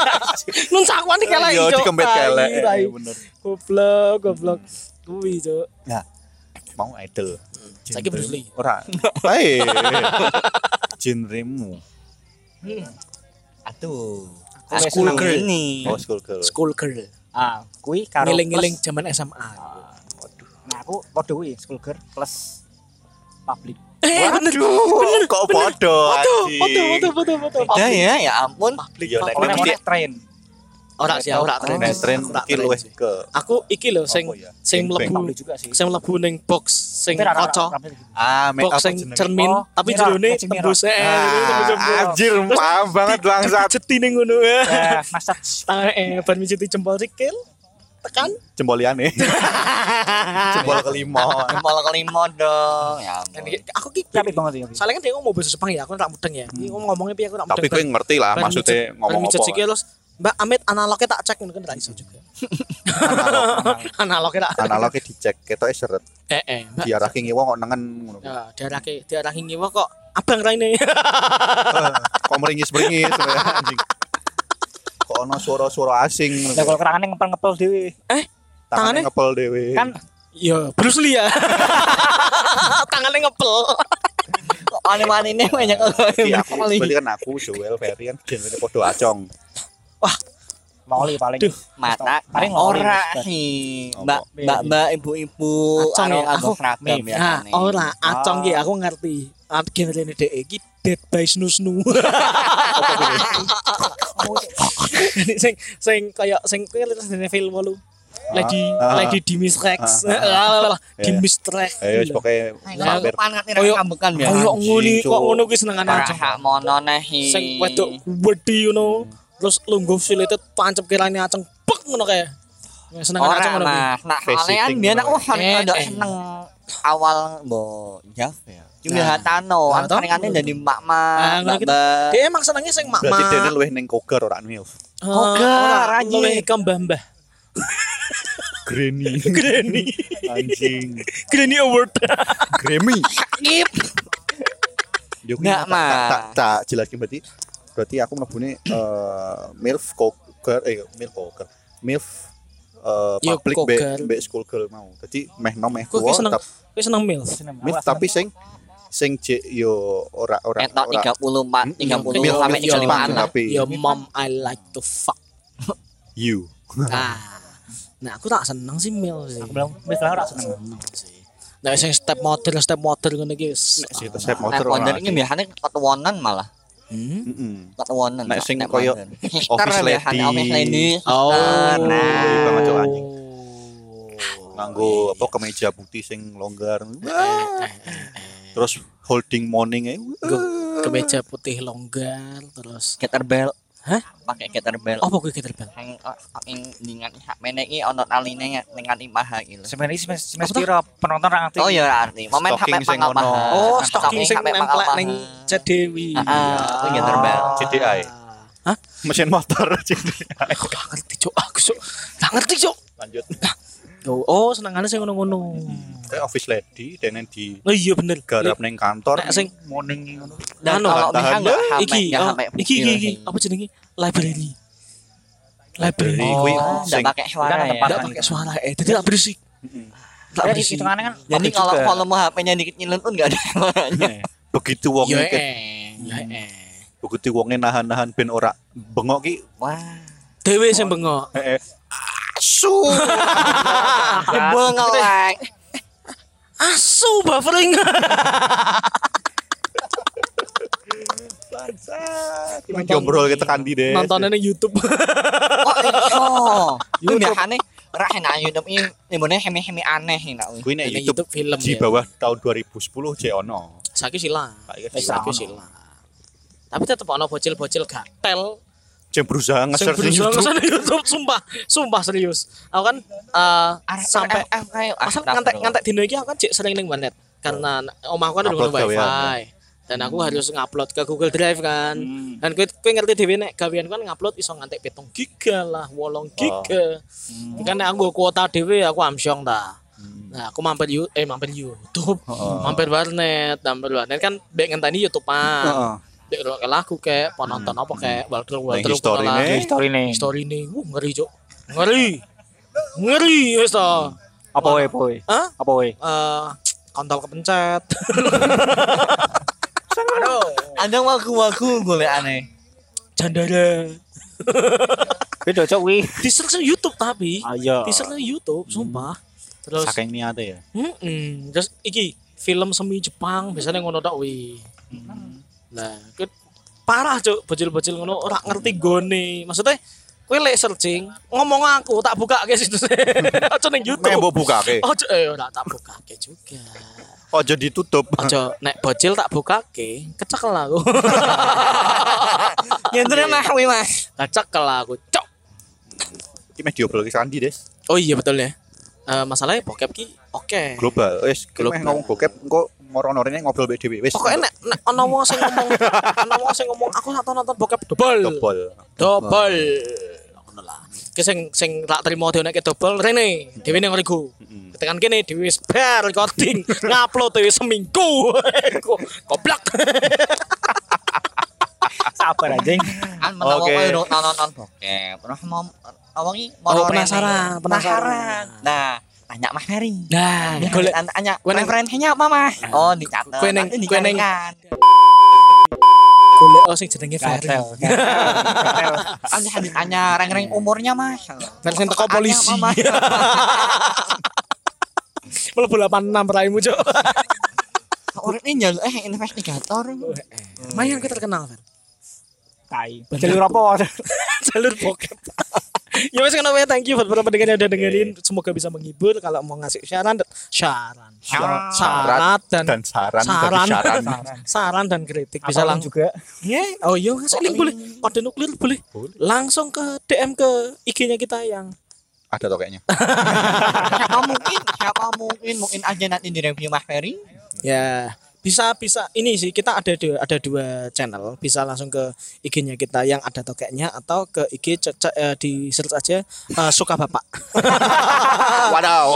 Loncakuan dikelek.
Yo
Cok.
Iya, dikembet
Tai,
kelek.
tai.
Iya, Bener.
Goblok, goblok. Kuwi, Cuk.
Mau idol.
Saiki Bruce Lee.
Ora. Bae. Genremu.
Aduh.
Aku
School
senang
girl.
ini.
ini.
Oh, school girl.
School girl.
Ah, kui karo.
Ngiling-ngiling
plus-
zaman SMA.
Nah aku podo kui, school girl plus public.
Eh, bener.
Bener kok podo
Foto,
anjing.
foto, foto, foto, foto.
Beda ya, ya ampun.
Iya, nek
Oleh
mesti
oleh train.
Hmm. Ora sih, ora
Oh.
tren.
nek tren
Aku ora
iki
tren
luwih
sih.
ke
Aku iki lho sing
Apa ya?
sing
Big Bang.
mlebu
Public juga sih.
sing mlebu ning box sing
Tapi rada-
kocok.
rada- rada-
ah make
Box
up
sing
jenenge.
cermin,
Oh,
tapi
mirror,
jerone
kayak mirror.
tembus eh
Ah,
tembus.
anjir paham banget bangsat
Jeti ning ngono.
Eh, masak
Tangan eh ban mijiti jempol sikil. Tekan.
jempol liane
eh.
jempol kelima
Jempol kelima dong. Ya
Dan
ampun.
iki- aku ki
tapi banget ya.
Soalnya kan dia ngomong bahasa Jepang ya, aku tak mudeng ya. Dia ngomong ngomongnya piye aku tak mudeng.
tapi gue ngerti lah
Ban
maksudnya
mijet- ban
ngomong
mijet sikil
apa
terus Mbak Amit analognya tak cek ngono kan tak iso juga. analognya tak.
analognya dicek ketoke seret
Eh eh. Mbak,
diarahke ngewo kok nengen ngono
Ya, diarahke diarahi nyewa kok abang raine.
kok meringis-meringis kaya anjing kok ono suara-suara asing ngono.
Lah kalau kerangane ngepel-ngepel dhewe.
tangannya
tangannya?
ngepel dhewe
Kan
Iya, Bruce Lee ya. Tangannya ngepel.
Kok aneh-aneh ini banyak
Iya,
orang
aku berarti kan aku Joel Ferry kan jenenge podo acong
loli paling.
Duh.
mata
Paling
ora
lori.
sih
Apa?
mbak mbak mbak ibu ibu
Acong ya?
aku
Aku-
seragam ya
Nah,
kan, nih.
ora acong ki aku ngerti. Ah, Genre ini deh, ini dead by snu snu. Ini sing sing kayak sing kayak lihat di film walu. Lagi
Ah, ah.
lagi di mistrex, di
Iya.
mistrex.
Ayo pokoknya mampir.
Pangat nih
Koyok-
kambekan ya.
Kayak nguni,
Anjing,
kok
Cuk.
ngono kuwi senengan aja.
Parah mono nahi.
Sing wedok wedi you know. Terus lungguh silet pancep kirane aceng bek ngono kae. Ya, Senengan aceng
Ora
ngono. kuwi.
mah, nak
Face
kalian
sitting
biar aku
ngono.
kan
Eh,
ada
eh. Nah.
seneng awal mbo Jav ya. Juga hatano,
Hatano.
anu keringannya jadi
Ah,
mak-mak,
ngono gitu.
mbak-mbak.
Dia emang senengnya sing mak-mak.
Berarti dia luwih ning koger ora anu ya.
Ah,
Kogar,
ora,
anjing.
luwih ke mbah-mbah.
Granny.
Granny.
Anjing.
Granny Award.
Grammy.
Skip.
Yo kuwi
Nggak,
tak- tak-
Mas.
tak tak jelasin berarti berarti aku mlebune eh MILF koger eh MILF koger. MILF eh
Yo,
public be,
koger.
be school girl mau. Jadi meh nom meh
Kuwi
tuwa
seneng.
tap-
Kuwi seneng mil.
MILF tapi sing sing je- yo ora ora
Entok
ora Hmm,
34, 30
Milf
sampai
Jepang
35 lah.
tapi
Yo mom I like to fuck.
you.
Nah. Nah, aku tak seneng sih mil sih.
Aku bilang, wis lah ora seneng.
Nah, sing step model, step model ngono iki. wis.
Nek situ saya
Nek
motor ora.
wonder Nah, ini ya. biasanya ketuanan malah.
Hmm?
Heeh.
Ketuanan.
Nek sing koyo office lady.
Office lady.
Oh.
sister, Nah.
Iya, Bang Ajo, anjing.
Oh,
nganggo apa
iya.
kemeja putih sing longgar
Hmm. Eh,
terus holding morning eh
Kemeja putih longgar terus.
Getter belt.
Hah?
Pakai getter belt.
Apa kuwi kita terbang?
Hang ing dengan hak meneki ono taline dengan imaha gitu.
Sebenarnya semen semen piro penonton ra ngerti.
Oh
iya,
ya arti. Momen hak
Stocking sing
pangkal
ono. Iya.
paha.
Oh,
Hak
stocking sing
hak
nempel
pangkal
ning
paha.
Cak Dewi.
Ah, ah, itu
iya,
getter belt.
CDI.
Hah?
mesin motor CDI.
Aku gak ngerti, Cuk. Aku, Cuk. Gak ngerti, Cuk.
lanjut
Oh, oh senengane sing ngono-ngono.
Eh, office lady dan yang di
Oh iya bener.
garap neng kantor
Nek sing
Morning ngono.
Dan
Anu,
kalau
tahan,
misalnya enggak hame,
iki
enggak
oh,
hame
iki
bukil,
iki iki
sing-
apa jenenge library library
Library.
oh,
Kuwi
Oh, enggak
sing-
pakai suara
Kan
ya.
tempat.
tidak pakai suara eh jadi tak berisik tak
Tapi
berisik
hitungannya kan
Jadi
public
gitu. kalau
juga.
volume HP-nya dikit nyilun pun enggak ada suaranya.
begitu wong
yo
ke-
eh yo eh
begitu wongnya nahan nahan ben ora bengok ki
Wah.
dewe sing bengok
eh, eh.
Su. Jebul ngelek.
asu buffering
Iya, Ini jombro kita kandi deh
nontonnya di YouTube
Iya,
Oh, iso. Itu biasanya Rah enak YouTube ini Ini hemi-hemi aneh enak.
gue nek
Ini
YouTube
YouTube film
di
ya.
bawah tahun 2010 cek ono gitu.
saiki silang
Saiki
Wis
silang.
saiki silang tapi tetep ono bocil-bocil gatel
cek berusaha
sing
nge-search di
berusaha
YouTube
ngesan YouTube sumpah sumpah serius aku kan eh, sampai Asal ngantek ngantek dino iki aku kan cek sering ning warnet karena omahku kan
Iya. Upload
dulu
gawean,
wifi dan aku harus ngupload ke Google Drive kan dan kowe kowe ngerti dhewe nek gawean kan ngupload iso ngantek 7 giga lah
Oh.
8 giga kan nek aku kuota dhewe aku amsyong ta
Hmm.
Nah, aku mampir you, eh mampir YouTube,
Oh.
mampir warnet, mampir warnet kan baik ngenteni YouTube-an.
Heeh.
Dek roke lagu kayak penonton apa kayak Walter
Nah,
Walter
history
lah.
nih
Story nih.
Story ini, uh, ngeri, Cuk. Ngeri. Ngeri, wis ta.
Apa wae, apa wae?
Hah?
Apa wae?
eh kontol kepencet. Aduh,
Ada wagu-wagu golek aneh.
jandara.
Kuwi cocok kuwi.
Di search nang YouTube tapi,
Ayo.
di search nang YouTube, sumpah. Terus,
saking niate ya
Mm-mm. terus iki film semi Jepang biasanya ngono tok wi. Nah, ke, parah cuk bocil-bocil ngono ora ngerti gone. Maksudnya kowe lek searching, ngomong aku tak buka ke situ. Aja ning
Nek
YouTube.
mbok bukake.
Ojo eh ora tak buka ke juga.
Ojo Oh, ditutup.
Ojo nek bocil tak buka ke, kecekel aku.
Nyentren mah kuwi Mas.
Kecekel aku, cok.
Iki meh diobrol ke Sandi, Des.
Oh iya betul ya. Eh masalahnya bokep ki oke.
Global. Wis, iki meh
Global.
ngomong bokep engko moro-norene ngobrol mbek dhewe. Wis.
Pokoknya nek nek ana wong sing ngomong, ana wong sing ngomong aku sak tau nonton bokep dobel.
dobol.
Dobel. Ngono lah. Ki sing sing tak terima dhewe nek ki dobel rene, dhewe ning ngriku.
Mm-mm.
Tekan kene dhewe wis bar recording, ngupload dhewe seminggu. Ko- Goblok.
Sabar anjing.
Kan menawa
Oke.
kowe urung nonton bokep, terus mau awang iki
Oh,
mau
penasaran,
rene.
penasaran.
Nah, tanya Mas Nari.
Nah, golek
Tanya- tanya
Kowe neng-
referensinya apa Mas? Oh, dicatat.
Kowe neng-
Nanti
kowe neng-
dicarikan.
golek oh sing jenenge Ferry.
Gatel. kan? gatel.
Anda harus tanya Kan reng-reng umurnya mas
Versi teko
Apa-
polisi.
apa, Mas?
Mlebu 86 raimu, Cuk.
Uripnya njaluk eh investigator.
Mayan gue terkenal kan.
Tai. Jalur apa?
Jalur bokep. ya wes kenapa ya thank you buat para pendengar yang udah dengerin. Semoga bisa menghibur kalau mau ngasih saran saran
Syarat.
syarat dan
dan saran
saran
saran, saran.
saran dan kritik bisa
Apapun
langsung
juga.
Ya, oh iya ngasih link boleh. Kode nuklir boleh.
Boleh.
Langsung ke DM ke IG-nya kita yang
ada toh kayaknya
Siapa mungkin? Siapa mungkin? Mungkin aja nanti di review Mas Ferry.
ya bisa bisa ini sih kita ada dua ada dua channel bisa langsung ke IG-nya kita yang ada tokeknya atau ke IG ce- ce- eh, di search aja eh, suka bapak Ah.
wadaw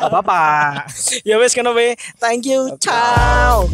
Apa-apa.
ya wes kenapa thank you ciao